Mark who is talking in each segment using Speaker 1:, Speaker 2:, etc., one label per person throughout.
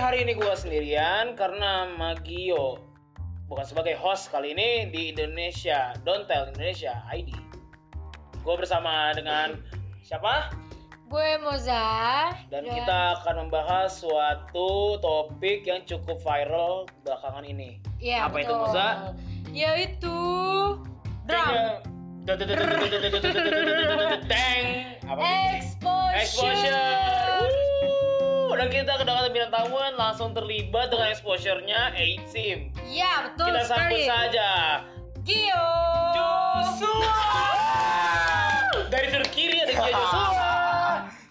Speaker 1: kali ini gue sendirian karena Magio bukan sebagai host kali ini di Indonesia Don't Tell Indonesia ID. Gue bersama dengan siapa?
Speaker 2: Gue Moza
Speaker 1: Dan kita akan membahas suatu topik yang cukup viral belakangan ini.
Speaker 2: Iya,
Speaker 1: Apa itu,
Speaker 2: betul.
Speaker 1: Moza? Iya.
Speaker 2: Yaitu drum
Speaker 1: Teng. Apa itu?
Speaker 2: exposure.
Speaker 1: Exposure. Wuh. Dan kita kedatangan bintang tamuan langsung terlibat dengan exposure-nya 8
Speaker 2: Iya betul
Speaker 1: Kita sambut
Speaker 2: sekali.
Speaker 1: saja.
Speaker 2: Gio.
Speaker 1: Joshua dari sudut kiri ada Gia Joshua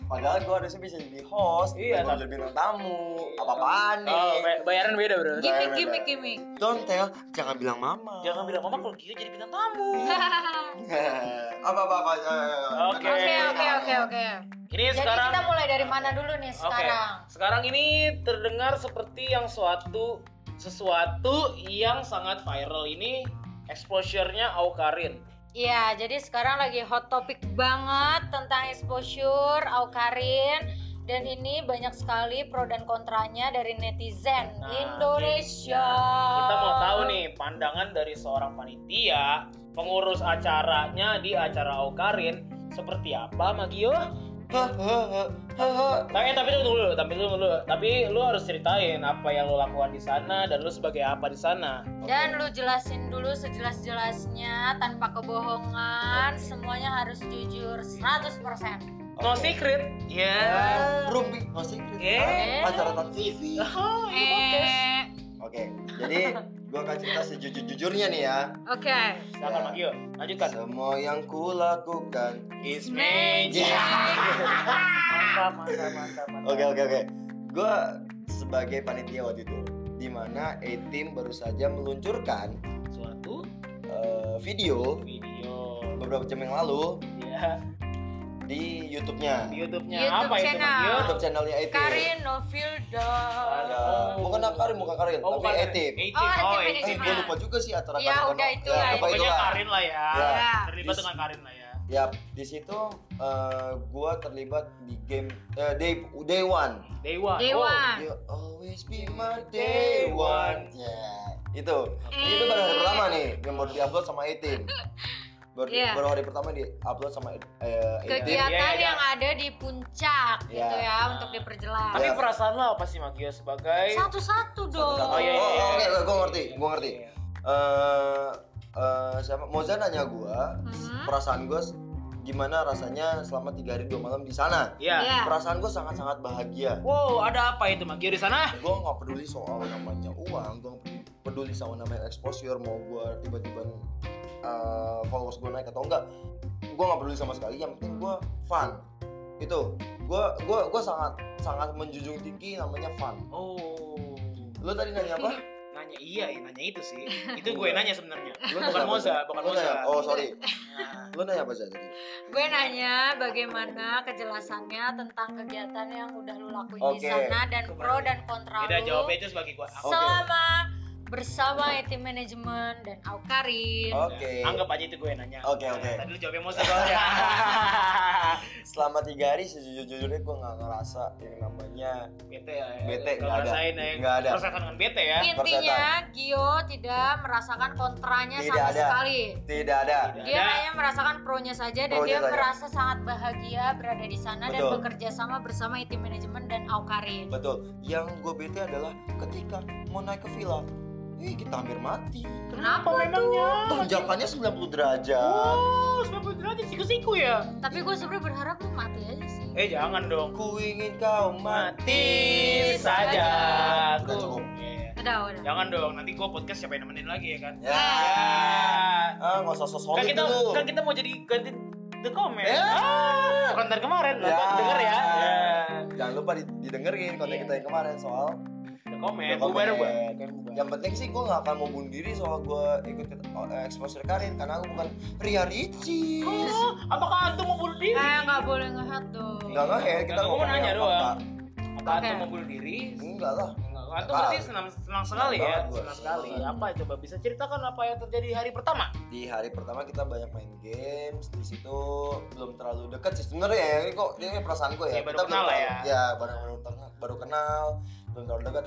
Speaker 3: Padahal gue harusnya bisa jadi host,
Speaker 1: Iya, tapi-
Speaker 3: gue
Speaker 1: Oh,
Speaker 3: jadi bintang tamu, apa-apaan nih?
Speaker 1: bayaran beda bro
Speaker 2: Gimik gimik gimik.
Speaker 3: Don't tell, jangan bilang mama.
Speaker 1: jangan bilang mama kalau Gia jadi bintang tamu
Speaker 3: apa apa eh, apa.
Speaker 1: Oke.
Speaker 2: Oke oke oke
Speaker 3: eh,
Speaker 2: oke.
Speaker 1: ini
Speaker 2: Jadi
Speaker 1: sekarang
Speaker 2: kita mulai dari mana dulu nih
Speaker 1: Oke.
Speaker 2: sekarang?
Speaker 1: sekarang ini terdengar seperti yang suatu sesuatu yang sangat viral ini exposure-nya Aukarin
Speaker 2: Iya, jadi sekarang lagi hot topic banget tentang exposure, aukarin, dan ini banyak sekali pro dan kontranya dari netizen
Speaker 1: Nah,
Speaker 2: Indonesia.
Speaker 1: kita mau tahu nih pandangan dari seorang panitia pengurus acaranya di acara Aukarin seperti apa Magio? Tapi tapi tunggu dulu, tapi tunggu dulu. Tapi lu harus ceritain apa yang lu lakukan di sana dan lu sebagai apa di sana.
Speaker 2: Dan lu jelasin dulu sejelas-jelasnya tanpa kebohongan, semuanya harus jujur 100%.
Speaker 1: No secret. Ya.
Speaker 3: eh, Rumpi, no secret.
Speaker 1: Yeah.
Speaker 3: Acara tak TV.
Speaker 1: Oh, iya,
Speaker 2: Eh,
Speaker 3: Oke, jadi gue akan cerita sejujur-jujurnya nih ya.
Speaker 2: Oke.
Speaker 1: Silakan Mak Gio, lanjutkan.
Speaker 3: Semua yang kulakukan
Speaker 1: Is
Speaker 2: magic.
Speaker 1: mantap, mantap, mantap, mantap.
Speaker 3: Oke oke oke. Gue sebagai panitia waktu itu, di mana A Team baru saja meluncurkan
Speaker 1: Suatu
Speaker 3: eh, video
Speaker 1: video
Speaker 3: beberapa jam yang lalu
Speaker 1: ya
Speaker 3: di YouTube-nya,
Speaker 1: di YouTube-nya
Speaker 2: YouTube
Speaker 1: apa itu Mak
Speaker 2: channel.
Speaker 1: Gio?
Speaker 3: YouTube channelnya ya. A Team.
Speaker 2: Karin Novilda.
Speaker 3: Ada. Bukan Karin, bukan Karin,
Speaker 1: Oh, bukan
Speaker 3: tapi A Team.
Speaker 1: Etim.
Speaker 2: Oh,
Speaker 1: Oh,
Speaker 2: Etim,
Speaker 3: Eh,
Speaker 1: Etim.
Speaker 3: gue lupa juga sih acara
Speaker 2: Ya,
Speaker 3: Karin
Speaker 2: udah,
Speaker 3: Kono.
Speaker 2: itu
Speaker 3: ya,
Speaker 2: lah,
Speaker 3: apa
Speaker 1: Pokoknya
Speaker 3: itulah.
Speaker 1: Karin lah ya.
Speaker 3: Ya.
Speaker 2: Iya.
Speaker 1: Terlibat dengan Karin lah ya.
Speaker 3: Ya, di situ gue terlibat di game eh, day day one.
Speaker 1: Dewa. Oh.
Speaker 2: Dewa.
Speaker 3: You always be my day one. Ya, itu.
Speaker 2: Iya.
Speaker 3: Jadi Itu baru hari pertama nih yang baru diupload sama Etim. Baru,
Speaker 2: Iya.
Speaker 3: baru hari pertama diupload sama eh, Etim.
Speaker 2: Kegiatan
Speaker 1: Iya, iya.
Speaker 2: yang ada di puncak
Speaker 3: Iya.
Speaker 2: gitu ya untuk diperjelas.
Speaker 1: Tapi
Speaker 3: Ya.
Speaker 1: perasaan lo apa sih Mak Gio sebagai
Speaker 2: Satu-satu dong.
Speaker 1: Oh
Speaker 3: Satu-satu.
Speaker 1: iya iya.
Speaker 3: Oh,
Speaker 1: iya.
Speaker 3: oke, oke, gua ngerti, gua ngerti.
Speaker 1: Iya.
Speaker 3: Eh, eh, siapa? Moza nanya gue,
Speaker 2: Mhm.
Speaker 3: perasaan gue gimana rasanya selama tiga hari dua malam di sana?
Speaker 1: Iya.
Speaker 2: Iya.
Speaker 3: Perasaan gue sangat-sangat bahagia.
Speaker 1: Wow, ada apa itu Mak Gio di sana?
Speaker 3: gue nggak peduli soal namanya uang gue peduli sama namanya exposure mau gue tiba-tiba uh, followers gue naik atau enggak gue nggak peduli sama sekali yang penting gue fun itu gue gue gue sangat sangat menjunjung tinggi namanya fun
Speaker 1: Oh.
Speaker 3: lo tadi nanya apa
Speaker 1: Nanya iya, iya, nanya itu sih. Itu gue nanya sebenarnya.
Speaker 3: Lu
Speaker 1: Bukan
Speaker 3: nanya apa?
Speaker 1: Moza, bukan
Speaker 3: Lu
Speaker 1: Moza.
Speaker 3: nanya- oh sorry
Speaker 1: Nah,
Speaker 3: lo nanya apa sih tadi
Speaker 2: Gue nanya bagaimana kejelasannya tentang kegiatan yang udah lu lakuin di
Speaker 3: Oke.
Speaker 2: sana dan pro dan kontra
Speaker 1: Beda
Speaker 2: lu
Speaker 1: jawabnya itu sebagai gue.
Speaker 3: Oke.
Speaker 2: selama bersama ya tim manajemen dan Aukarin.
Speaker 3: oke
Speaker 1: Anggap aja itu gue nanya.
Speaker 3: Oke, oke.
Speaker 1: Tadi lu jawabnya Moza soalnya.
Speaker 3: selama tiga hari sejujurnya gue nggak ngerasa yang namanya
Speaker 1: bete ya.
Speaker 3: Bete,
Speaker 1: Kalau
Speaker 3: nggak ada.
Speaker 1: rasain ya.
Speaker 3: Nggak ada.
Speaker 1: Perasaan dengan bete ya.
Speaker 2: Intinya Gio tidak merasakan kontranya
Speaker 3: Tidak
Speaker 2: sama
Speaker 3: ada.
Speaker 2: sekali.
Speaker 3: tidak ada
Speaker 1: Tidak
Speaker 2: Dia
Speaker 1: ada.
Speaker 2: hanya merasakan pronya saja dan
Speaker 3: Pro-nya
Speaker 2: dia
Speaker 3: saja.
Speaker 2: merasa sangat bahagia berada di sana dan
Speaker 3: Betul.
Speaker 2: bekerja sama bersama tim manajemen dan Aukarin.
Speaker 3: betul yang gue bete adalah ketika mau naik ke villa Ih, kita hampir mati.
Speaker 2: Kenapa
Speaker 1: memangnya?
Speaker 3: Iya. Tanjakannya 90 derajat.
Speaker 1: Wow, 90 derajat siku-siku ya.
Speaker 2: Tapi gue sebenarnya berharap lu mati aja sih.
Speaker 1: Eh jangan dong.
Speaker 3: Ku ingin kau
Speaker 1: Mati
Speaker 3: mati.
Speaker 1: saja.
Speaker 3: Udah cukup.
Speaker 1: Iya.
Speaker 2: Udah, udah.
Speaker 1: Jangan dong, nanti gua podcast siapa yang nemenin lagi ya kan?
Speaker 3: Ya. Ah, nggak usah sosok
Speaker 1: Kan
Speaker 3: solid
Speaker 1: kita
Speaker 3: dulu.
Speaker 1: kan kita mau jadi ganti the comment.
Speaker 3: Ya.
Speaker 1: Ah, konten kemarin
Speaker 3: Ya.
Speaker 1: nonton denger ya. Ya.
Speaker 3: Jangan lupa di- didengerin konten
Speaker 1: Iya.
Speaker 3: kita yang kemarin soal
Speaker 1: The comment.
Speaker 3: The
Speaker 1: Bubar gua.
Speaker 3: Comment. Ya, yang penting sih gue nggak akan mau bunuh diri soal gue ikut eh, exposure Karin karena aku bukan Ria Ricci.
Speaker 1: Oh, apakah antum mau bunuh diri?
Speaker 2: Eh, nggak boleh ngehat dong.
Speaker 3: Enggak enggak ya kita
Speaker 1: Nggak, gua mau
Speaker 3: ngomongin
Speaker 1: nanya
Speaker 3: apa,
Speaker 1: doang.
Speaker 3: Pak.
Speaker 1: Apa antum
Speaker 2: Oke.
Speaker 1: mau bunuh diri?
Speaker 3: Enggak lah.
Speaker 1: Enggak, antum
Speaker 3: Nggak.
Speaker 1: berarti senang senang sekali
Speaker 3: Senang
Speaker 1: ya,
Speaker 3: banget gua.
Speaker 1: senang sekali.
Speaker 3: Senang
Speaker 1: Apa coba bisa ceritakan apa yang terjadi di hari pertama?
Speaker 3: di hari pertama kita banyak main games di situ belum terlalu dekat sih sebenarnya ya ini kok ini perasaan gue
Speaker 1: Iya,
Speaker 3: ya,
Speaker 1: baru
Speaker 3: kita belum
Speaker 1: kenal lah
Speaker 3: terlalu- ya baru baru, baru kenal belum terlalu dekat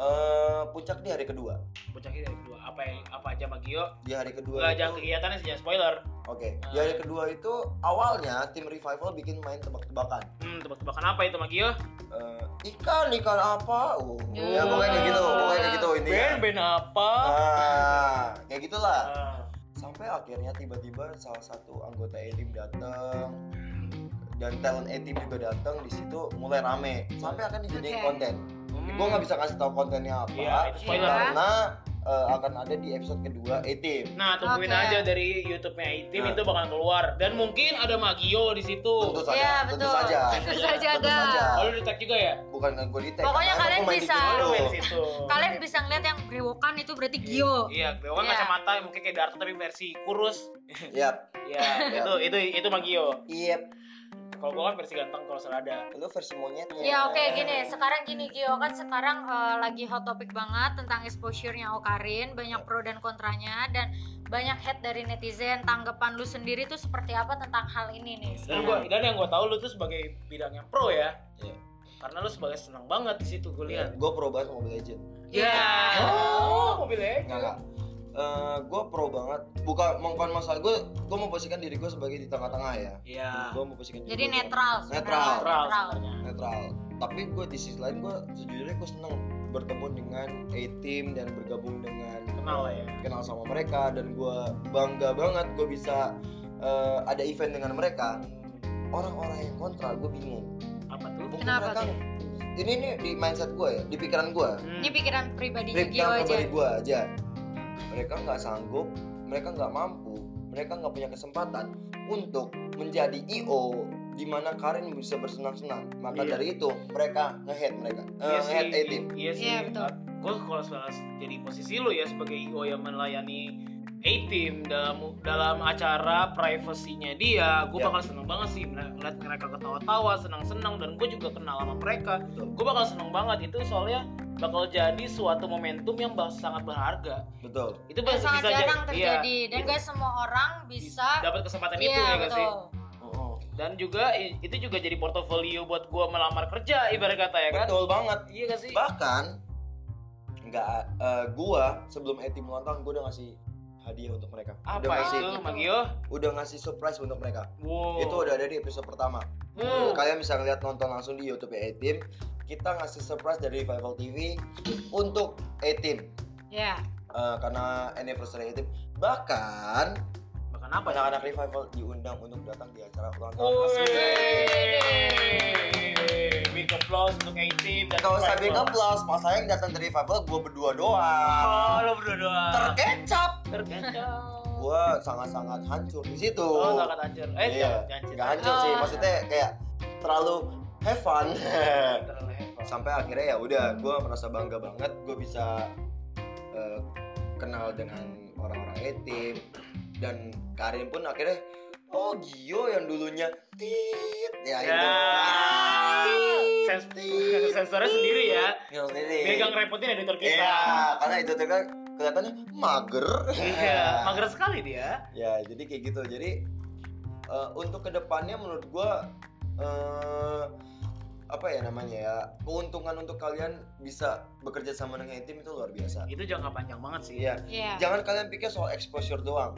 Speaker 3: Eh, puncak di hari kedua
Speaker 1: puncaknya dari kedua apa yang apa aja Magio
Speaker 3: di hari kedua
Speaker 1: nggak Nah.
Speaker 3: itu-
Speaker 1: jangan kegiatannya sih jangan spoiler
Speaker 3: oke di hari kedua itu awalnya tim revival bikin main tebak-tebakan
Speaker 1: hmm tebak-tebakan apa itu Magio
Speaker 3: Eh, ikan ikan apa oh,
Speaker 2: Ya.
Speaker 3: ya pokoknya kayak gitu pokoknya kayak gitu ini
Speaker 1: band apa
Speaker 3: ah kayak gitulah
Speaker 1: Ah,
Speaker 3: sampai akhirnya tiba-tiba salah satu anggota A team datang dan talent A team juga datang di situ mulai rame sampai akan dijadiin
Speaker 2: Oke.
Speaker 3: konten.
Speaker 1: hmm.
Speaker 3: Gue nggak bisa kasih tahu kontennya apa
Speaker 1: Iya, itu spoiler.
Speaker 3: karena eh, akan ada di episode kedua A team.
Speaker 1: Nah, tungguin
Speaker 2: Oke.
Speaker 1: aja dari YouTube-nya Itim
Speaker 3: Nah.
Speaker 1: itu bakal keluar dan mungkin ada Magio di
Speaker 3: Tentu
Speaker 1: situ.
Speaker 3: saja,
Speaker 2: Iya,
Speaker 3: tentu
Speaker 2: betul.
Speaker 3: saja.
Speaker 2: Tentu saja,
Speaker 3: Tentu
Speaker 2: Ga.
Speaker 3: saja.
Speaker 1: Oh, lu di tag juga ya?
Speaker 3: Bukan kan gue di tag.
Speaker 2: Pokoknya
Speaker 3: karena
Speaker 2: kalian
Speaker 3: gua main di
Speaker 2: bisa.
Speaker 3: game
Speaker 1: Lu
Speaker 3: dulu.
Speaker 1: main di situ.
Speaker 2: Kalian bisa ngeliat yang brewokan itu berarti Gio.
Speaker 1: Iya, gue kan
Speaker 2: Iya.
Speaker 1: kacamata yang mungkin kayak Darto tapi versi kurus.
Speaker 3: Yap,
Speaker 1: Iya, itu itu itu Magio.
Speaker 3: iya.
Speaker 1: Kalau gue kan versi ganteng kalau salah ada.
Speaker 3: Lu versi monyetnya.
Speaker 2: Ya oke gini, sekarang gini Gio kan sekarang eh, lagi hot topic banget tentang exposure-nya Okarin,
Speaker 3: Iya.
Speaker 2: banyak pro dan kontranya dan banyak hate dari netizen. Tanggapan lu sendiri tuh seperti apa tentang hal ini nih?
Speaker 1: Dan, Eh,
Speaker 2: sekarang?
Speaker 1: gua, dan yang gue tahu lu tuh sebagai bidang yang pro ya.
Speaker 3: Iya.
Speaker 1: Karena lu sebagai senang banget di situ gue lihat.
Speaker 3: Gue pro banget Mobile Legend.
Speaker 1: Iya.
Speaker 2: Iya.
Speaker 1: Oh, mobil Legends.
Speaker 3: Enggak, enggak. gue pro banget. Bukan bukan masalah gue. Gue memposisikan diri gue sebagai di tengah-tengah ya.
Speaker 1: Iya.
Speaker 3: Gue memposisikan diri
Speaker 2: Jadi
Speaker 3: gua
Speaker 2: netral.
Speaker 3: Netral.
Speaker 1: Netral sebenarnya.
Speaker 3: netral. Tapi gue di sisi lain gue sejujurnya gue seneng bertemu dengan A team dan bergabung dengan
Speaker 1: Kenal lah ya.
Speaker 3: kenal sama mereka dan gue bangga banget gue bisa eh, ada event dengan mereka. Orang-orang yang kontra gue bingung.
Speaker 1: Apa tuh?
Speaker 3: Mungkin
Speaker 2: Kenapa
Speaker 3: mereka- Ini nih di mindset gue ya, di pikiran gue.
Speaker 1: Hmm.
Speaker 2: Ini pikiran pribadinya Gio
Speaker 3: Breakdown
Speaker 2: aja.
Speaker 3: pribadi gue aja mereka nggak sanggup mereka nggak mampu mereka nggak punya kesempatan untuk menjadi io di mana Karin bisa bersenang-senang maka
Speaker 1: Iya.
Speaker 3: dari itu mereka ngehead mereka
Speaker 1: Iya
Speaker 3: Eh,
Speaker 1: sih,
Speaker 3: head A team
Speaker 1: Iya sih.
Speaker 2: Iya, betul.
Speaker 1: Gue kalau sekarang jadi posisi lu ya sebagai IO yang melayani A team dalam dalam acara privasinya dia, gue
Speaker 3: Ya.
Speaker 1: bakal seneng banget sih mel- ngeliat mereka ketawa-tawa, senang-senang dan gue juga kenal sama mereka.
Speaker 3: betul
Speaker 1: Gue bakal seneng banget itu soalnya bakal jadi suatu momentum yang bah- sangat berharga.
Speaker 3: betul
Speaker 1: Itu
Speaker 2: Dan
Speaker 1: bisa-
Speaker 2: sangat
Speaker 1: bisa
Speaker 2: jarang
Speaker 1: jadi-
Speaker 2: terjadi
Speaker 1: iya,
Speaker 2: dan
Speaker 1: itu
Speaker 2: gak semua orang bisa
Speaker 1: dapat kesempatan
Speaker 2: Iya,
Speaker 1: itu ya nggak sih?
Speaker 2: betul.
Speaker 3: Oh, oh.
Speaker 1: Dan juga i- itu juga jadi portofolio buat gue melamar kerja ibarat kata ya kan?
Speaker 3: betul banget
Speaker 1: Iya gak sih?
Speaker 3: bahkan nggak eh, gua sebelum A team ulang tahun gua udah ngasih hadiah untuk mereka udah
Speaker 1: Apa
Speaker 3: ngasih
Speaker 1: itu,
Speaker 2: gitu.
Speaker 1: Magio?
Speaker 3: udah ngasih surprise untuk mereka
Speaker 1: Wow.
Speaker 3: itu udah ada di episode pertama
Speaker 1: Hmm.
Speaker 3: Kalian bisa lihat nonton langsung di YouTube A-Team. Kita ngasih surprise dari Revival TV untuk A-Team
Speaker 2: Ya.
Speaker 3: Eh, karena anniversary A-Team. Bahkan
Speaker 1: Makan apa ya?
Speaker 3: anak-anak Revival diundang untuk datang di acara ulang tahun. resmi.
Speaker 1: Wih. Big applause untuk A-Team dan
Speaker 3: Kalau saya big
Speaker 1: Pride Rock.
Speaker 3: applause, pas saya yang datang dari Revival, gue berdua
Speaker 1: Oh,
Speaker 3: doang.
Speaker 1: lo berdua doang.
Speaker 3: Terkecap.
Speaker 1: Terkencang.
Speaker 3: Gue sangat-sangat hancur di situ.
Speaker 1: Oh, nggak akan hancur. Ah. Eh,
Speaker 3: iya.
Speaker 1: jangan
Speaker 3: Nggak
Speaker 1: cerita.
Speaker 3: hancur sih,
Speaker 2: Oh.
Speaker 3: maksudnya kayak terlalu have fun.
Speaker 1: Terlalu hebat.
Speaker 3: sampai akhirnya ya udah gue merasa bangga banget gue bisa eh, kenal dengan orang-orang etim dan Karin pun akhirnya oh Gio yang dulunya tit ya
Speaker 1: Ya.
Speaker 3: itu
Speaker 1: Sens- Sensornya sendiri ya.
Speaker 3: Gio sendiri
Speaker 1: Biar gak ngerepotin editor
Speaker 3: Iya,
Speaker 1: kita.
Speaker 3: karena itu tuh kan kelihatannya mager
Speaker 1: Iya, mager sekali dia.
Speaker 3: ya jadi kayak gitu jadi eh, untuk kedepannya menurut gue eh apa ya namanya ya keuntungan untuk kalian bisa bekerja sama dengan tim itu luar biasa
Speaker 1: Itu jangka panjang banget sih.
Speaker 3: Iya,
Speaker 2: Iya.
Speaker 3: jangan kalian pikir soal exposure doang.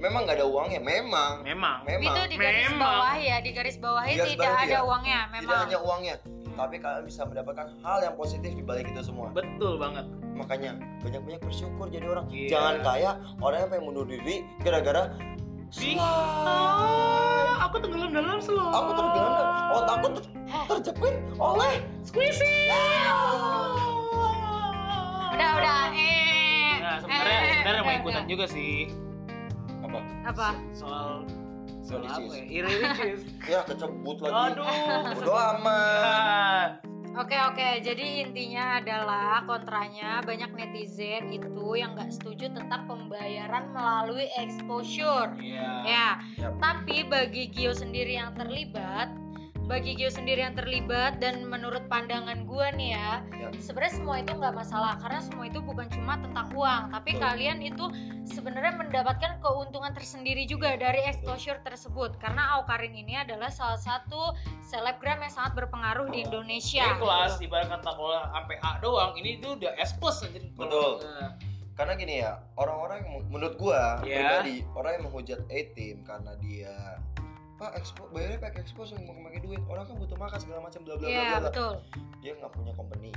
Speaker 3: Memang nggak ada uangnya, memang,
Speaker 1: Memang.
Speaker 2: Itu
Speaker 3: memang.
Speaker 2: di garis
Speaker 1: Memang.
Speaker 2: bawah ya, di garis bawahi
Speaker 3: Di garis
Speaker 2: tidak
Speaker 3: bawahi
Speaker 2: ada
Speaker 3: ya.
Speaker 2: uangnya
Speaker 3: Tidak
Speaker 2: memang.
Speaker 3: hanya uangnya, tapi kalian bisa mendapatkan hal yang positif di balik itu semua.
Speaker 1: Betul banget.
Speaker 3: Makanya banyak-banyak bersyukur jadi orang.
Speaker 1: Iya.
Speaker 3: Jangan kaya orang yang pengen bunuh diri gara-gara
Speaker 1: Bi-
Speaker 3: slime.
Speaker 1: Ah, aku tenggelam dalam slot.
Speaker 3: Aku Oh, tergelam,
Speaker 2: Ah.
Speaker 3: otakku ter terjepit oleh
Speaker 1: Squishy.
Speaker 2: Udah, udah. Eh.
Speaker 1: Nah, sebenarnya
Speaker 2: eh,
Speaker 1: sebenarnya mau
Speaker 2: udah,
Speaker 1: ikutan
Speaker 2: udah.
Speaker 1: juga sih
Speaker 3: apa?
Speaker 2: Apa?
Speaker 1: soal soal
Speaker 3: Sorry,
Speaker 1: apa
Speaker 3: sis.
Speaker 1: ya? Irisis.
Speaker 3: Ya kecebut lagi.
Speaker 1: Aduh.
Speaker 3: Bodoh amat.
Speaker 1: Ah,
Speaker 2: Oke oke, jadi intinya adalah kontranya banyak netizen itu yang nggak setuju tentang pembayaran melalui exposure.
Speaker 1: Iya.
Speaker 2: Ya,
Speaker 3: Yap.
Speaker 2: tapi bagi Gio sendiri yang terlibat, bagi Gio sendiri yang terlibat dan menurut pandangan gua nih ya,
Speaker 3: Ya.
Speaker 2: sebenarnya semua itu nggak masalah karena semua itu bukan cuma tentang uang, tapi
Speaker 3: Betul.
Speaker 2: kalian itu sebenarnya mendapatkan keuntungan tersendiri juga dari exposure tersebut karena Aukarin ini adalah salah satu selebgram yang sangat berpengaruh di Indonesia.
Speaker 1: Ini kelas ibarat kata kalau sampai A doang, ini itu udah S plus Nah, aja.
Speaker 3: Betul. karena gini ya orang-orang yang menurut gua
Speaker 1: Iya.
Speaker 3: pribadi orang yang menghujat A team karena dia pak ekspo bayarnya pakai ekspos yang mau pakai duit orang kan butuh makan segala macam bla bla bla
Speaker 2: Iya
Speaker 3: bla, bla
Speaker 2: betul.
Speaker 3: dia nggak punya company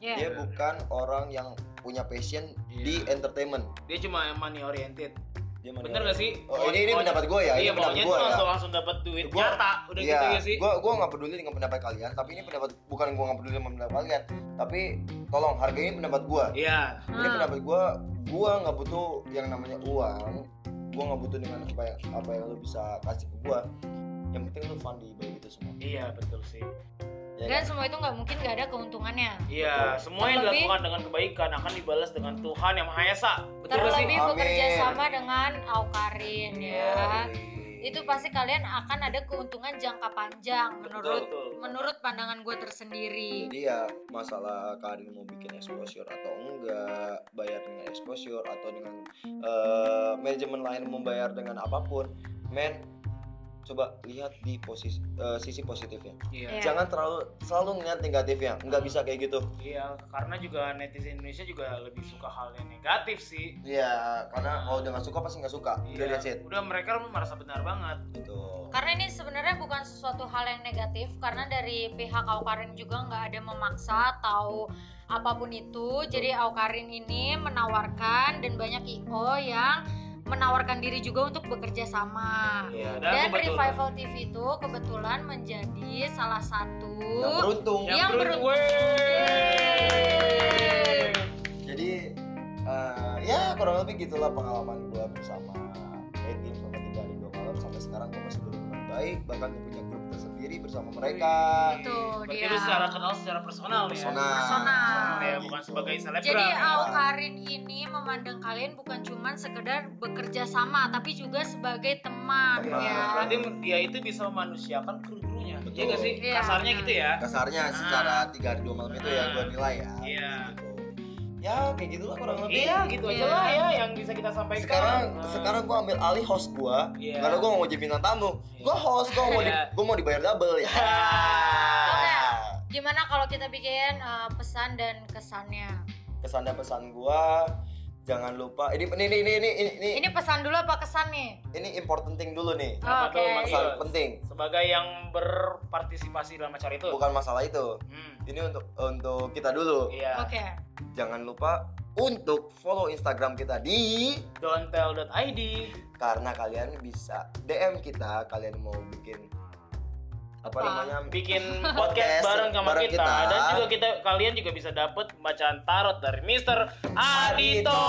Speaker 2: Iya.
Speaker 3: dia bukan orang yang punya passion
Speaker 1: Iya.
Speaker 3: di entertainment
Speaker 1: Dia cuma money oriented.
Speaker 3: dia money
Speaker 1: Bener gak sih?
Speaker 3: Oh, ini ini pendapat gue ya.
Speaker 1: Iya,
Speaker 3: ini pendapat
Speaker 1: maunya tuh
Speaker 3: gue ya.
Speaker 1: langsung langsung dapat duit
Speaker 3: Gua-
Speaker 1: nyata, udah
Speaker 3: Iya,
Speaker 1: gitu ya sih.
Speaker 3: gua gua nggak peduli dengan pendapat kalian, tapi ini pendapat bukan gua nggak peduli sama pendapat kalian, tapi tolong hargai pendapat gua.
Speaker 1: Iya.
Speaker 3: Ini
Speaker 2: Ah.
Speaker 3: pendapat gua, gua nggak butuh yang namanya uang, gua nggak butuh dengan apa yang apa yang lu bisa kasih ke gua. Yang penting lu fun di balik itu semua.
Speaker 1: Iya, betul sih.
Speaker 3: Ya,
Speaker 2: Dan
Speaker 3: kan?
Speaker 2: semua itu nggak mungkin nggak ada keuntungannya.
Speaker 1: Iya,
Speaker 3: Betul.
Speaker 1: semua yang
Speaker 2: Terlebih-
Speaker 1: dilakukan dengan kebaikan akan dibalas dengan Tuhan yang Maha Esa. Betul gak sih?
Speaker 2: Terlebih
Speaker 3: Amin. Iya,
Speaker 2: bekerja sama dengan Aukarin ya.
Speaker 3: Yoi.
Speaker 2: Itu pasti kalian akan ada keuntungan jangka panjang menurut
Speaker 1: Betul.
Speaker 2: menurut pandangan gue tersendiri.
Speaker 3: Jadi ya masalah Karin mau bikin exposure atau enggak, bayar dengan exposure atau dengan eh, manajemen lain membayar dengan apapun, men coba lihat di posisi eh, sisi positifnya.
Speaker 1: Iya.
Speaker 2: Iya.
Speaker 3: Jangan terlalu selalu ngeliat negatifnya, nggak bisa kayak gitu.
Speaker 1: Iya, karena juga netizen Indonesia juga lebih suka hal yang negatif sih.
Speaker 3: Iya, karena kalau udah nggak suka pasti nggak suka. Udah
Speaker 1: Iya,
Speaker 3: that's it.
Speaker 1: udah mereka merasa benar banget.
Speaker 3: Gitu.
Speaker 2: Karena ini sebenarnya bukan sesuatu hal yang negatif karena dari pihak Aukarin juga nggak ada memaksa atau apapun itu. Jadi Aukarin ini menawarkan dan banyak IO yang menawarkan diri juga untuk bekerja sama.
Speaker 1: Iya,
Speaker 2: Dan
Speaker 1: kebetulan-
Speaker 2: Revival TV itu kebetulan menjadi salah satu
Speaker 3: Yang beruntung.
Speaker 1: yang,
Speaker 2: Yang
Speaker 1: beruntung.
Speaker 2: Yeay.
Speaker 3: Jadi eh, ya kurang lebih gitulah pengalaman gua bersama Etim selama tiga hari dua malam sampai sekarang gua masih berhubungan baik bahkan gua punya grup tersendiri bersama mereka
Speaker 2: Tuh,
Speaker 1: Berarti
Speaker 2: dia.
Speaker 1: lu secara kenal secara personal, ya.
Speaker 3: personal,
Speaker 2: Personal.
Speaker 1: Ya,
Speaker 3: Gitu.
Speaker 1: bukan sebagai selebgram.
Speaker 2: Jadi
Speaker 1: ya.
Speaker 2: Aukarin ini memandang kalian bukan cuman sekedar bekerja sama tapi juga sebagai teman
Speaker 3: Teman.
Speaker 2: ya.
Speaker 1: Berarti dia itu bisa memanusiakan kru-krunya.
Speaker 3: Betul.
Speaker 1: Iya nggak sih?
Speaker 2: Iya.
Speaker 1: Kasarnya gitu ya.
Speaker 3: kasarnya secara tiga hari dua malam itu ya gua nilai ya
Speaker 1: Iya.
Speaker 3: gitu. ya kayak gitulah kurang lebih
Speaker 1: Iya, gitu aja
Speaker 2: Iya.
Speaker 1: lah ya yang bisa kita sampaikan.
Speaker 3: sekarang
Speaker 1: Nah.
Speaker 3: sekarang gua ambil alih host gua
Speaker 1: Iya.
Speaker 3: karena gua mau jadi bintang tamu
Speaker 1: Iya.
Speaker 3: gua host gua mau di-
Speaker 1: Iya.
Speaker 3: gua mau dibayar double ya Ah.
Speaker 2: Oke. Gimana kalau kita bikin eh, pesan dan kesannya?
Speaker 3: kesan dan pesan gua jangan lupa ini ini ini ini ini ini,
Speaker 2: Ini pesan dulu apa kesan nih?
Speaker 3: ini important thing dulu nih
Speaker 1: Apa
Speaker 2: Oke.
Speaker 1: tuh maksud?
Speaker 3: masalah penting
Speaker 1: Sebagai yang berpartisipasi dalam acara itu.
Speaker 3: bukan masalah itu
Speaker 1: Hmm.
Speaker 3: ini untuk untuk kita dulu
Speaker 1: Iya.
Speaker 2: Oke.
Speaker 3: jangan lupa untuk follow instagram kita di
Speaker 1: Don'tell.id.
Speaker 3: karena kalian bisa dm kita kalian mau bikin apa
Speaker 2: Apa?
Speaker 3: namanya
Speaker 1: bikin
Speaker 3: Podcast
Speaker 1: podcast bareng sama
Speaker 3: bareng
Speaker 1: kita.
Speaker 3: kita.
Speaker 1: dan juga kita kalian juga bisa dapet bacaan tarot dari Mister Adito.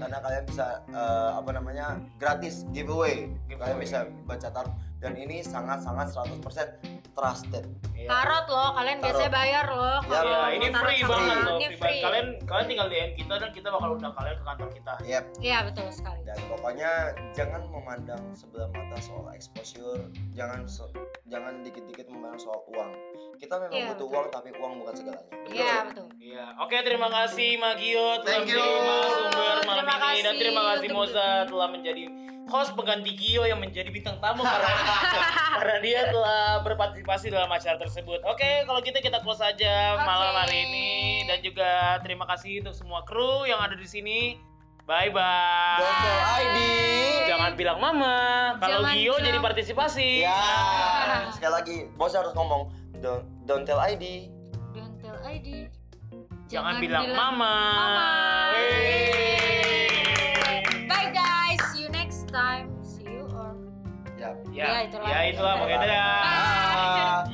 Speaker 3: karena kalian bisa eh, apa namanya gratis giveaway kalian
Speaker 1: Giveaway.
Speaker 3: bisa baca tarot dan ini sangat-sangat 100% trusted
Speaker 1: Iya.
Speaker 2: Tarot loh, kalian
Speaker 3: Ya. Tarot.
Speaker 2: biasanya bayar loh.
Speaker 3: Ya,
Speaker 2: kalau
Speaker 1: Iya,
Speaker 2: mau
Speaker 1: ini
Speaker 2: tarot
Speaker 1: free
Speaker 2: sama
Speaker 1: banget
Speaker 2: orang.
Speaker 1: loh.
Speaker 2: Ini
Speaker 1: free banget.
Speaker 2: free.
Speaker 1: Kalian kalian tinggal DM kita dan kita bakal undang kalian ke kantor kita.
Speaker 3: yep
Speaker 2: Iya betul sekali.
Speaker 3: dan pokoknya jangan memandang sebelah mata soal exposure jangan se- jangan dikit-dikit memandang soal uang kita memang
Speaker 2: Iya,
Speaker 3: butuh
Speaker 2: betul.
Speaker 3: uang tapi uang bukan segalanya
Speaker 2: Iya betul.
Speaker 1: Iya. Oke, terima kasih Magio telah
Speaker 3: Thank you.
Speaker 1: menjadi narasumber malam
Speaker 2: Terima
Speaker 1: ini dan
Speaker 2: kasih
Speaker 1: terima kasih
Speaker 2: untuk-
Speaker 1: Moza telah menjadi host pengganti Gio yang menjadi bintang tamu karena karena dia telah berpartisipasi dalam acara tersebut. Oke, kalau gitu kita close saja malam
Speaker 2: Oke.
Speaker 1: hari ini dan juga terima kasih untuk semua kru yang ada di sini. Bye bye.
Speaker 3: Dokter ID
Speaker 1: Jangan bilang mama kalau
Speaker 2: Jangan
Speaker 1: Gio
Speaker 2: bilang-
Speaker 1: jadi partisipasi.
Speaker 3: ya sekali lagi bos harus ngomong don't, don't tell ID
Speaker 2: Don't tell ID.
Speaker 1: Jangan, bilang, mama.
Speaker 2: mama.
Speaker 1: Yeay.
Speaker 2: Bye guys, see you next time. See you or
Speaker 3: ya
Speaker 1: Ya,
Speaker 2: Ya, itulah.
Speaker 1: ya itulah. Pokoknya dadah.
Speaker 2: Bye.
Speaker 3: Ah.